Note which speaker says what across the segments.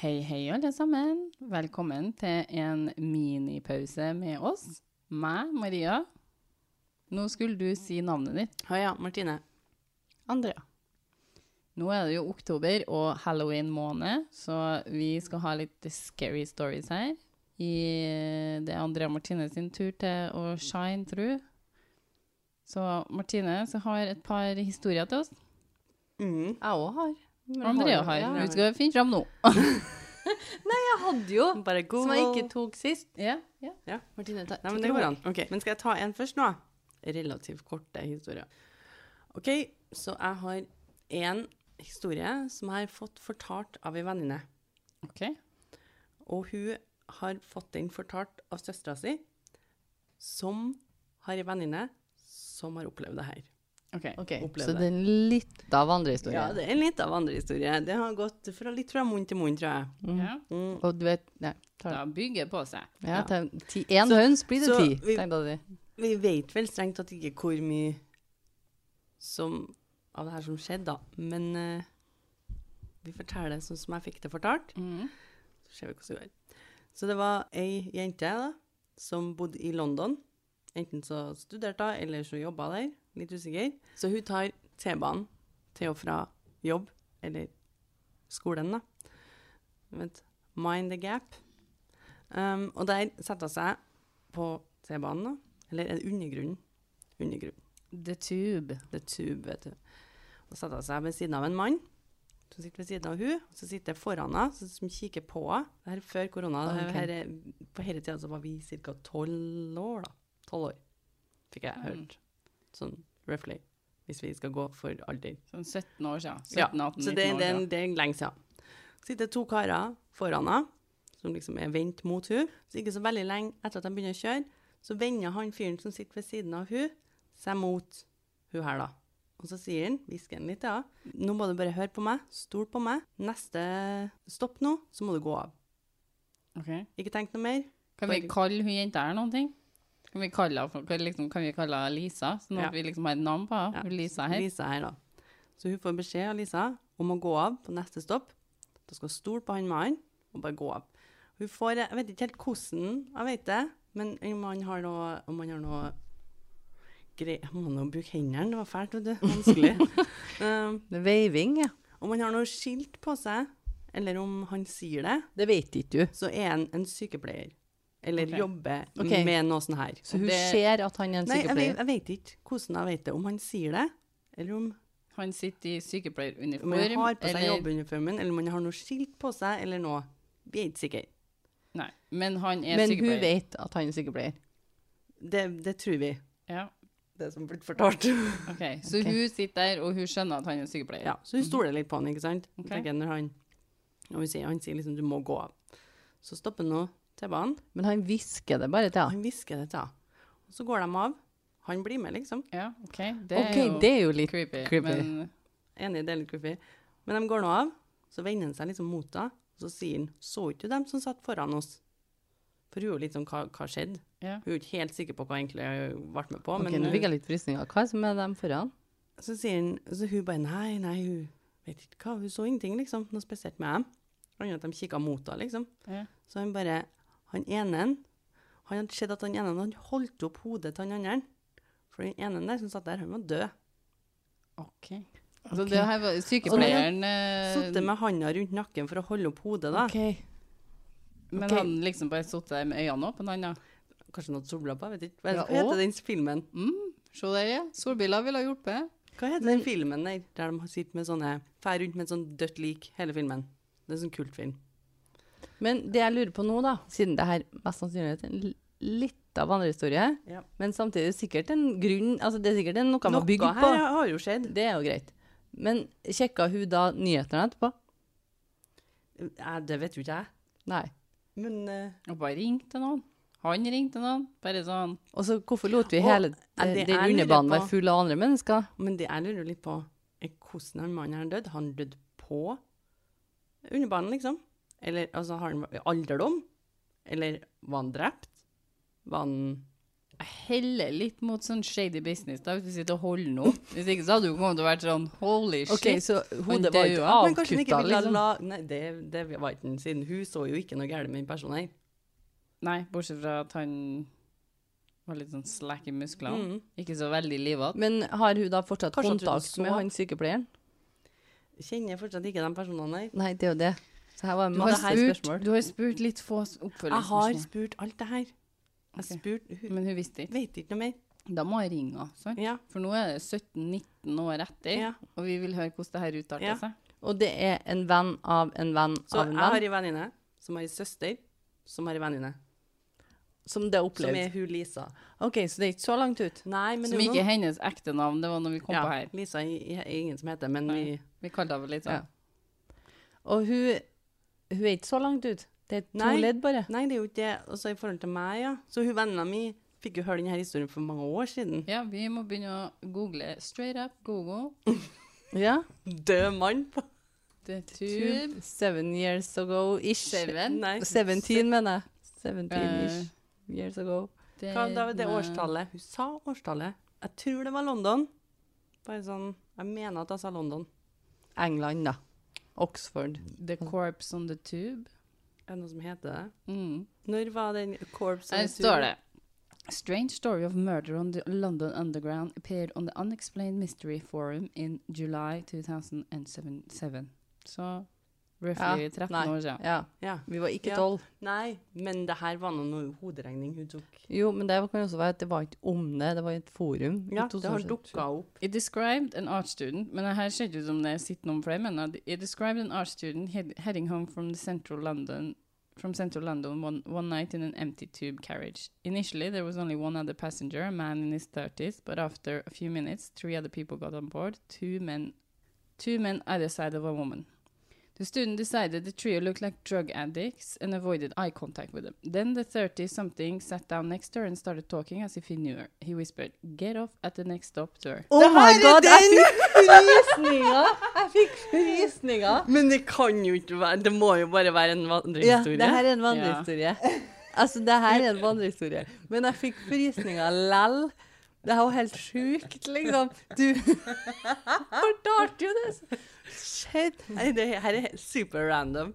Speaker 1: Hei, hei, alle sammen. Velkommen til en minipause med oss. Meg, Maria. Nå skulle du si navnet ditt.
Speaker 2: Å ja, Martine.
Speaker 1: Andrea. Nå er det jo oktober og halloween måned, så vi skal ha litt scary stories her. I det er Andrea Martine sin tur til å shine through. Så Martine så har et par historier til oss.
Speaker 2: Mm.
Speaker 3: Jeg òg har. Men
Speaker 1: Andrea
Speaker 3: har
Speaker 1: har.
Speaker 3: du- ja.
Speaker 1: Hun skal finne fram nå.
Speaker 3: Jeg hadde jo,
Speaker 1: Ah,
Speaker 2: Bare god
Speaker 3: som jeg ikke tok sist.
Speaker 1: Ja, ja.
Speaker 3: Martine, ta,
Speaker 2: Nei, men det går an. Ok, Men skal jeg ta en først nå? Relativt korte historier. OK, så jeg har én historie som jeg har fått fortalt av ei venninne.
Speaker 1: OK.
Speaker 2: Og hun har fått den fortalt av søstera si, som har ei venninne som har opplevd det her.
Speaker 1: ok.
Speaker 3: Ok,
Speaker 2: Opplevde
Speaker 3: Så
Speaker 2: det.
Speaker 3: det er litt av andre
Speaker 2: Ja,
Speaker 3: historier.
Speaker 2: det er litt av andre historie. Det har gått fra, litt fra munn til munn, tror jeg.
Speaker 1: Ja.
Speaker 2: Mm.
Speaker 3: Og du vet Nei. Ta,
Speaker 1: Da bygger det på seg.
Speaker 3: ja, ta, ti, en høns blir det
Speaker 2: så
Speaker 3: ti,
Speaker 2: vi-
Speaker 3: tenkte jeg.
Speaker 2: Vi vet vel strengt tatt ikke hvor mye som, av det her som skjedde, da. Men eh, vi forteller det sånn som jeg fikk det fortalt.
Speaker 1: Mm.
Speaker 2: Så ser vi hvordan det går. Så det var ei jente da, som bodde i London. Enten så studerte hun, eller så jobba der. Litt usikker. Så hun tar T-banen til og fra jobb, eller skolen, da. Vet, mind the gap. Um, og der setter hun seg på T-banen, da. Eller er det undergrunnen? Undergrunnen.
Speaker 1: The Tube.
Speaker 2: The Tube, vet du. Og satte hun seg ved siden av en mann som sitter ved siden av hun, og så sitter jeg foran henne, så- som kikker på henne. Det her er før korona. det
Speaker 3: Ok.
Speaker 2: Her, er- på denne tida så var vi ca. tolv år, da. Tolv år, fikk jeg
Speaker 1: Mm.
Speaker 2: hørt. Sånn roughly. Hvis vi skal gå for alder.
Speaker 1: Sånn 17 år siden. 17,
Speaker 2: Ja,
Speaker 1: 18,
Speaker 2: så det,
Speaker 1: 19 år
Speaker 2: det, er-
Speaker 1: siden.
Speaker 2: det er lenge siden. Sitter to karer foran henne, som liksom er vendt mot hun. Så ikke så veldig lenge etter at de begynner å kjøre, så vender han fyren som sitter ved siden av hun, seg mot hun her da. Og så sier han, hvisker han litt, ja. Nå må du bare høre på meg, stol på meg. Neste stopp nå, så må du gå av.
Speaker 1: Ok.
Speaker 2: Ikke tenk noe mer.
Speaker 1: Kan vi
Speaker 2: For-
Speaker 1: kalle hun jenta her noen ting? Kan vi kalle henne for- kan liksom, kan vi kalle henne Lisa, sånn at
Speaker 2: Ja.
Speaker 1: vi liksom har et navn på henne?
Speaker 2: Ja,
Speaker 1: Hun Lisa her.
Speaker 2: Lisa her da. Så hun får beskjed av Lisa om å gå av på neste stopp. Da skal hun stole på han mannen og bare gå av. Hun får, jeg vet ikke helt hvordan, jeg vet det, men om han har noe, om han har noe grei- Han må nå bruke hendene, det var fælt, vet du. Vanskelig. um,
Speaker 3: Det er veiving, ja.
Speaker 2: om han har noe skilt på seg, eller om han sier det,
Speaker 3: Det vet ikke du.
Speaker 2: så er han en sykepleier. Eller
Speaker 1: Ok.
Speaker 2: jobber
Speaker 3: Ok.
Speaker 2: med noe sånn her.
Speaker 3: Så hun
Speaker 1: Det-
Speaker 3: ser at han er en
Speaker 2: Nei, jeg, vet-
Speaker 3: sykepleier.
Speaker 2: jeg vet ikke hvordan jeg vet det. Om han sier det, eller om
Speaker 1: Han sitter i
Speaker 2: Om
Speaker 1: sykepleieruniform.
Speaker 2: man har på seg
Speaker 1: eller-
Speaker 2: jobbuniformen, eller man har noe skilt på seg, eller noe. Vi er ikke sikre.
Speaker 1: Nei, men han er
Speaker 3: Men hun
Speaker 1: sykepleier.
Speaker 3: vet at han er sykepleier.
Speaker 2: Det, det tror vi.
Speaker 1: Ja,
Speaker 2: Det som er blitt fortalt.
Speaker 1: ok. Så
Speaker 3: Ok.
Speaker 1: hun sitter der, og hun skjønner at han er sykepleier.
Speaker 2: Ja, så hun stoler litt på han, ikke sant?
Speaker 1: Ok.
Speaker 2: Tenker jeg Når han, og hun sier, han sier liksom, du må gå av. Så stopper han nå T-banen,
Speaker 3: Men han hvisker det bare til
Speaker 2: og
Speaker 3: henne.
Speaker 2: han hvisker det til henne. Og så går de av. Han blir med, liksom.
Speaker 1: Ja, ok. Det er jo
Speaker 3: OK, det er jo litt
Speaker 1: creepy.
Speaker 3: creepy.
Speaker 1: Men
Speaker 2: Enig, det er litt creepy. Men de går nå av, så vender han seg liksom mot henne, og så sier han, så ikke du dem som satt foran oss? For hun er jo litt sånn, hva, hva skjedde?
Speaker 1: Ja.
Speaker 2: Hun er jo ikke helt sikker på hva egentlig hun ble med på.
Speaker 3: Ok,
Speaker 2: men, eh,
Speaker 3: nå fikk jeg litt frysninger. Hva er det som er dem foran?
Speaker 2: Så sier han, så hun bare nei, nei, hun vet ikke hva, hun så ingenting, liksom, noe spesielt med dem. Annet enn at de kikket mot henne, liksom.
Speaker 1: Ja.
Speaker 2: Så han bare, han ene, han hadde sett at han ene, han holdt opp hodet til han andre. For den ene der som satt der, han var død.
Speaker 1: ok. Så det her var sykepleieren eh,
Speaker 2: Suttet med handa rundt nakken for å holde opp hodet da.
Speaker 3: OK.
Speaker 1: Men
Speaker 3: ok.
Speaker 1: han liksom bare sittet der med øynene åpne, han da.
Speaker 2: Kanskje noe sola på, jeg vet ikke. Hva,
Speaker 3: Ja,
Speaker 2: hva heter
Speaker 3: og?
Speaker 2: den filmen?
Speaker 1: Mm, Se der, ja. Solbriller ville ha hjulpet.
Speaker 2: Hva heter den filmen der, der de sitter med sånne, fer rundt med en sånn dødt lik, hele filmen? Det er en sånn kult film.
Speaker 3: Men det jeg lurer på nå, da, siden det her mest sannsynlig er en l- litt av andre historie,
Speaker 2: Ja.
Speaker 3: men samtidig sikkert en grunn Altså, det er sikkert en- noe man
Speaker 2: Noe
Speaker 3: har bygd
Speaker 2: her
Speaker 3: på.
Speaker 2: har jo skjedd.
Speaker 3: Det er jo greit. Men sjekka hun da nyhetene etterpå?
Speaker 2: Ja, Eh, det vet jo ikke jeg.
Speaker 3: Nei.
Speaker 2: Men... eh,
Speaker 1: Og bare ringte noen. Han ringte noen. Bare sånn
Speaker 3: Og så hvorfor lot vi
Speaker 2: Og-
Speaker 3: hele
Speaker 2: Ja, det
Speaker 3: eh,
Speaker 2: jeg
Speaker 3: den
Speaker 2: lurer
Speaker 3: underbanen
Speaker 2: på-
Speaker 3: være full av andre mennesker?
Speaker 2: Men det jeg lurer litt på, er hvordan han mannen her døde. Han døde på underbanen, liksom? Eller altså, har han alderdom? Eller var han drept? Var han
Speaker 1: jeg heller litt mot sånn shady business, da, hvis du sitter og holder noe. Hvis ikke så hadde du kommet til å vært sånn holy shit.
Speaker 3: OK, så hodet
Speaker 1: det
Speaker 3: var
Speaker 1: er jo
Speaker 3: ikke
Speaker 1: av.
Speaker 2: Men kanskje han ikke
Speaker 3: avkutta,
Speaker 2: ville
Speaker 3: liksom.
Speaker 2: la Nei, det, det var ikke han, siden hun så jo ikke noe galt med den personen her.
Speaker 1: Nei, bortsett fra at han var litt sånn slack i musklene.
Speaker 2: Mm.
Speaker 1: Ikke så veldig livete.
Speaker 3: Men har hun da fortsatt
Speaker 2: Kanskje at hun
Speaker 3: kontakt
Speaker 2: så-
Speaker 3: med han sykepleieren?
Speaker 2: Kjenner fortsatt ikke de personene her.
Speaker 3: Nei, det er jo det. Så her var
Speaker 2: Du
Speaker 1: Du,
Speaker 2: har
Speaker 1: har
Speaker 3: masse
Speaker 2: spurt-
Speaker 1: spurt-
Speaker 3: spørsmål.
Speaker 1: du har spurt litt få s-
Speaker 2: Jeg har
Speaker 1: oppfølgingsspørsmål.
Speaker 2: spurt alt det her. Jeg
Speaker 1: Ok.
Speaker 2: spurte Hun
Speaker 1: Men hun visste ikke.
Speaker 2: vet ikke noe mer.
Speaker 1: Da må jeg ringe henne, sant?
Speaker 2: Ja.
Speaker 1: For nå er det 17-19 år etter,
Speaker 2: ja.
Speaker 1: og vi vil høre hvordan det her utarter
Speaker 2: Ja.
Speaker 1: seg.
Speaker 3: Og det er en venn av en venn
Speaker 2: Så
Speaker 3: av en
Speaker 2: jeg
Speaker 3: venn,
Speaker 2: har en venninne som har en søster som har en venninne,
Speaker 3: som det er
Speaker 2: som
Speaker 3: opplevd.
Speaker 2: er hun Lisa.
Speaker 3: OK, så det er ikke så langt ut.
Speaker 2: Nei, men
Speaker 1: Som
Speaker 2: det er jo
Speaker 1: ikke
Speaker 2: noen-
Speaker 1: er hennes ekte navn, det var når vi kom
Speaker 2: ja,
Speaker 1: på her.
Speaker 2: Lisa er er ingen som heter, men
Speaker 1: Nei.
Speaker 2: vi
Speaker 1: Vi kalte henne litt sånn.
Speaker 3: Og hun, hun er ikke så langt ut. Det er to
Speaker 2: Nei.
Speaker 3: ledd, bare.
Speaker 2: Nei, det er jo ikke det. Og så i forhold til meg, ja. Så hun venninna mi fikk jo høre denne historien for mange år siden.
Speaker 1: Ja, vi må begynne å google straight up Google.
Speaker 3: Ja.
Speaker 2: Død mann på
Speaker 1: The tube.
Speaker 3: Two, seven years ago-ish.
Speaker 1: Seven.
Speaker 2: Nei.
Speaker 3: 17, mener jeg. 17-ish
Speaker 1: Eh,
Speaker 3: years ago.
Speaker 1: det-
Speaker 2: Hva da var det
Speaker 1: Eh, nei.
Speaker 2: årstallet? Hun sa årstallet. Jeg tror det var London. Bare sånn Jeg mener at jeg sa London.
Speaker 3: England, da. Oxford.
Speaker 1: The corpse on the tube.
Speaker 2: Er det noe som heter det?
Speaker 1: Mm.
Speaker 2: Når var den Corps
Speaker 1: Her står det. Strange story of murder on the London Underground appeared on the Unexplained Mystery Forum in July 2007. Så roughly
Speaker 3: Ja,
Speaker 1: 13
Speaker 3: nei.
Speaker 1: år siden.
Speaker 3: Ja.
Speaker 2: Ja.
Speaker 3: Vi var ikke
Speaker 2: Ja.
Speaker 3: tolv.
Speaker 2: Nei, men det her var nå noe hoderegning hun tok.
Speaker 3: Jo, men det kan jo også være at det var ikke om det, det var et forum.
Speaker 2: Ja,
Speaker 3: I
Speaker 2: det har
Speaker 3: 2007.
Speaker 2: dukka opp.
Speaker 1: It described an art student, men det her ser ikke ut som det sitter noen flere, men at it described an art student head, heading home from the central London from central London one, one night in an empty tube carriage. Initially, there was only one other passenger, a man in his 30s, but after a few minutes, three other people got on board, two men, two men either side of a woman. The student decided the trio looked like drug addicts and avoided eye contact with them. Then the 30 something sat down next to her and started talking as if he knew her. He whispered, Get off at the next stop to her.
Speaker 3: Oh
Speaker 2: Det
Speaker 3: my
Speaker 2: her er
Speaker 3: god, jeg
Speaker 2: den!
Speaker 3: fikk frysninger! Jeg fikk frysninger!
Speaker 2: Men det kan jo ikke være Det må jo bare være en
Speaker 3: Ja,
Speaker 2: vandrehistorie.
Speaker 3: det her er en vandrehistorie. Altså, det her er en vandrehistorie. Men jeg fikk frysninger lell. Det her var helt sjukt, liksom. Du fortalte jo det! så- Shit.
Speaker 2: Nei, det her er helt super random.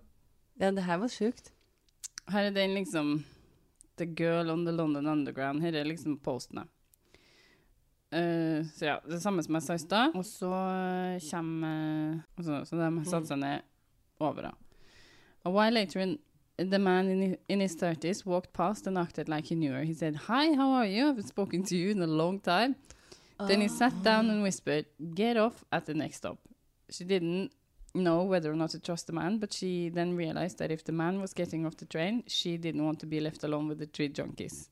Speaker 3: Ja, det her var sjukt.
Speaker 1: Her er den liksom The Girl on the London Underground. Her er liksom postene. Eh, så ja, det samme som jeg sa i stad. Og så eh, kommer eh, Så, så de satte seg ned over, da. A while later in The man in his, in his 30s walked past and acted like he knew her. He said, Hi, how are you? I haven't spoken to you in a long time. Then he sat down and whispered, Get off at the next stop. She didn't know whether or not to trust the man, but she then realized that if the man was getting off the train, she didn't want to be left alone with the three junkies.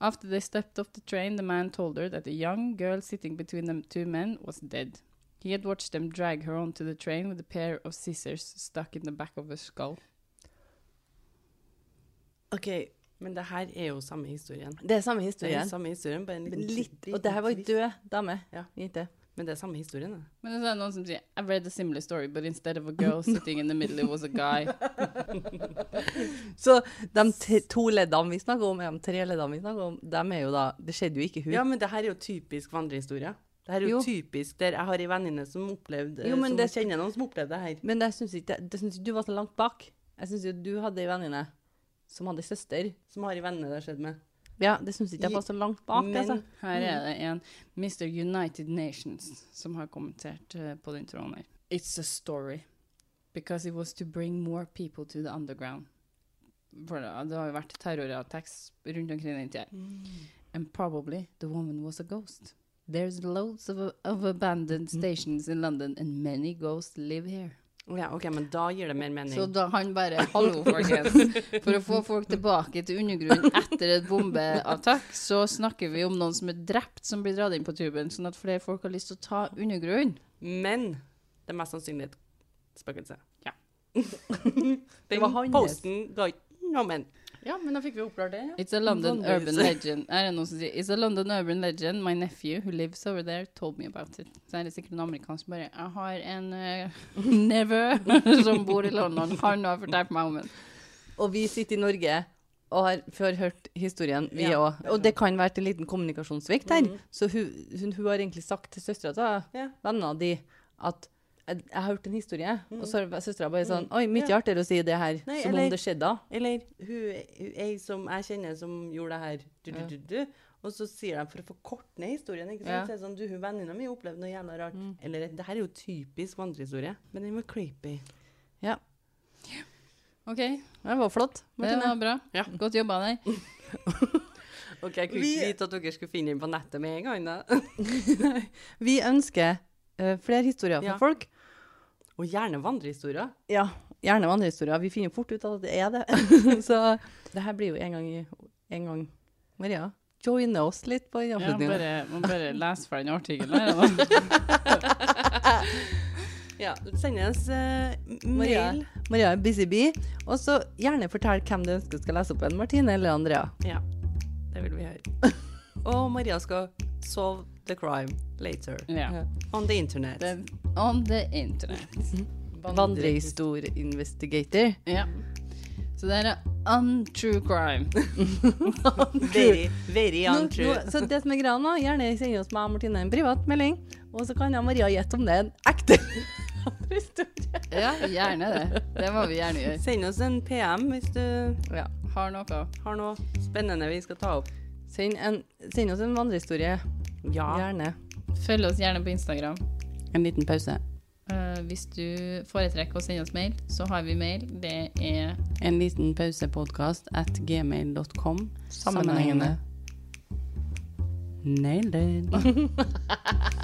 Speaker 1: After they stepped off the train, the man told her that the young girl sitting between the two men was dead. He had watched them drag her onto the train with a pair of scissors stuck in the back of her skull.
Speaker 2: OK, men det her er jo samme historien.
Speaker 3: Det er samme
Speaker 2: Det er
Speaker 3: historien.
Speaker 2: samme historien, bare en
Speaker 3: Men
Speaker 2: liten
Speaker 3: litt,
Speaker 2: liten
Speaker 3: og det her var ei
Speaker 2: twist.
Speaker 3: død dame.
Speaker 2: Ja.
Speaker 3: Jente.
Speaker 2: Men det er samme historien, det.
Speaker 1: Men det er sånn noen som sier, I read a similar story, but instead of a girl sitting in the middle, it was a guy.
Speaker 3: Så de t to leddene vi snakker om, ja, de tre leddene vi snakker om, de er jo da Det skjedde jo ikke hun.
Speaker 2: Ja, men det her er jo typisk vandrehistorie. Det her er jo,
Speaker 3: Jo.
Speaker 2: typisk der jeg har en venninne som opplevde
Speaker 3: Jo,
Speaker 2: som
Speaker 3: men det-
Speaker 2: kjenner noen som opplevde det her.
Speaker 3: Men jeg syns ikke, det syns ikke du var så langt bak. Jeg syns jo du hadde ei venninne som hadde søster.
Speaker 2: Som har en venninne det har skjedd med.
Speaker 3: Ja, det syns ikke jeg var så langt bak,
Speaker 2: Men-
Speaker 3: altså.
Speaker 1: Her er det en Mr. United Nations som har kommentert eh, på den tråden her. It's a story. Because it was to bring more people to the underground. For det, det har jo vært terrorattacks rundt omkring den tida. And probably the woman was a ghost. There's loads of, of abandoned stations in London and many ghosts live here.
Speaker 2: Ja, OK, men da gir det mer mening.
Speaker 1: Så da han bare Hallo, folkens. For å få folk tilbake til undergrunnen etter et bombeattakk, så snakker vi om noen som er drept, som blir dratt inn på tuben, sånn at flere folk har lyst til å ta undergrunnen.
Speaker 2: Men det er mest sannsynlig et spøkelse.
Speaker 1: Ja.
Speaker 2: Den
Speaker 3: var hans.
Speaker 2: posten ga ikke noe men.
Speaker 3: Ja, men da fikk vi oppklart det.
Speaker 1: It's a London
Speaker 2: Vanligvis.
Speaker 1: urban legend. Er det noen som sier It's a London urban legend. My nephew who lives over there told me about it. Så er det sikkert en amerikansk som bare Jeg har en uh, nevø som bor i London. Han har fortalt meg om den.
Speaker 3: Og vi sitter i Norge og har før hørt historien, vi Mm.
Speaker 2: Ja.
Speaker 3: òg. Og det kan være til en liten kommunikasjonssvikt her. Så hun, hun, hun har egentlig sagt til søstera til
Speaker 2: Ja.
Speaker 3: vennene di at jeg, jeg har hørt en historie, og så har søstera bare sånn Oi, mye artigere å si det her
Speaker 2: Nei,
Speaker 3: som
Speaker 2: eller-
Speaker 3: om det skjedde da.
Speaker 2: Eller hun, hun ei som jeg kjenner som gjorde det her. Du, du, du, du. Og så sier de for å forkorte ned historien. ikke sant?
Speaker 3: Ja.
Speaker 2: Så er det sånn, du, hun Venninna mi opplevde noe jævla rart. Eller det her er jo typisk vandrehistorie, men den var creepy.
Speaker 1: OK, det
Speaker 3: Det var flott. Martine.
Speaker 1: var bra.
Speaker 2: Ja.
Speaker 1: Godt jobba der.
Speaker 2: Ok, Jeg kunne
Speaker 3: Vi-
Speaker 2: ikke vite at dere skulle finne den på nettet med en gang. da.
Speaker 3: Vi ønsker eh, flere historier fra
Speaker 2: Ja.
Speaker 3: folk.
Speaker 2: Og gjerne vandrehistorier.
Speaker 3: Ja, gjerne med andre historier. Vi finner fort ut at det er det. så det her blir jo en gang i en gang. Maria, joine oss litt på den
Speaker 1: Ja,
Speaker 3: avslutningen.
Speaker 1: bare, må bare lese fra den artikkelen her. da.
Speaker 2: Ja, Sendes eh, m-
Speaker 3: Maria.
Speaker 2: mail.
Speaker 3: Maria er busy bee. Og så gjerne fortell hvem du ønsker skal lese opp en. Martine eller Andrea.
Speaker 2: Ja, det vil vi høre. Og Maria skal solve the crime later.
Speaker 1: Ja.
Speaker 2: On the internet.
Speaker 1: Det, on the internet.
Speaker 3: Vandrehistorinvestigator.
Speaker 1: Ja. Så det her er untrue crime.
Speaker 2: Very, very
Speaker 3: Nå-
Speaker 2: untrue.
Speaker 3: nå- Så det som er greia nå, gjerne send oss meg og Martine en privat melding, og så kan jeg og Maria gjette om det er en ekte historie.
Speaker 1: Ja, gjerne det. Det må vi gjerne gjøre.
Speaker 2: Send oss en PM hvis du
Speaker 3: Ja.
Speaker 1: Har noe.
Speaker 2: har noe spennende vi skal ta opp.
Speaker 3: Send, en, send oss en vandrehistorie. Gjerne.
Speaker 1: Følg oss gjerne på Instagram.
Speaker 2: En liten pause.
Speaker 1: Eh, hvis du foretrekker å sende oss mail, så har vi mail. Det er
Speaker 2: En liten pausepodkast at gmail.com.
Speaker 1: Sammenhengende.
Speaker 2: Nailed it.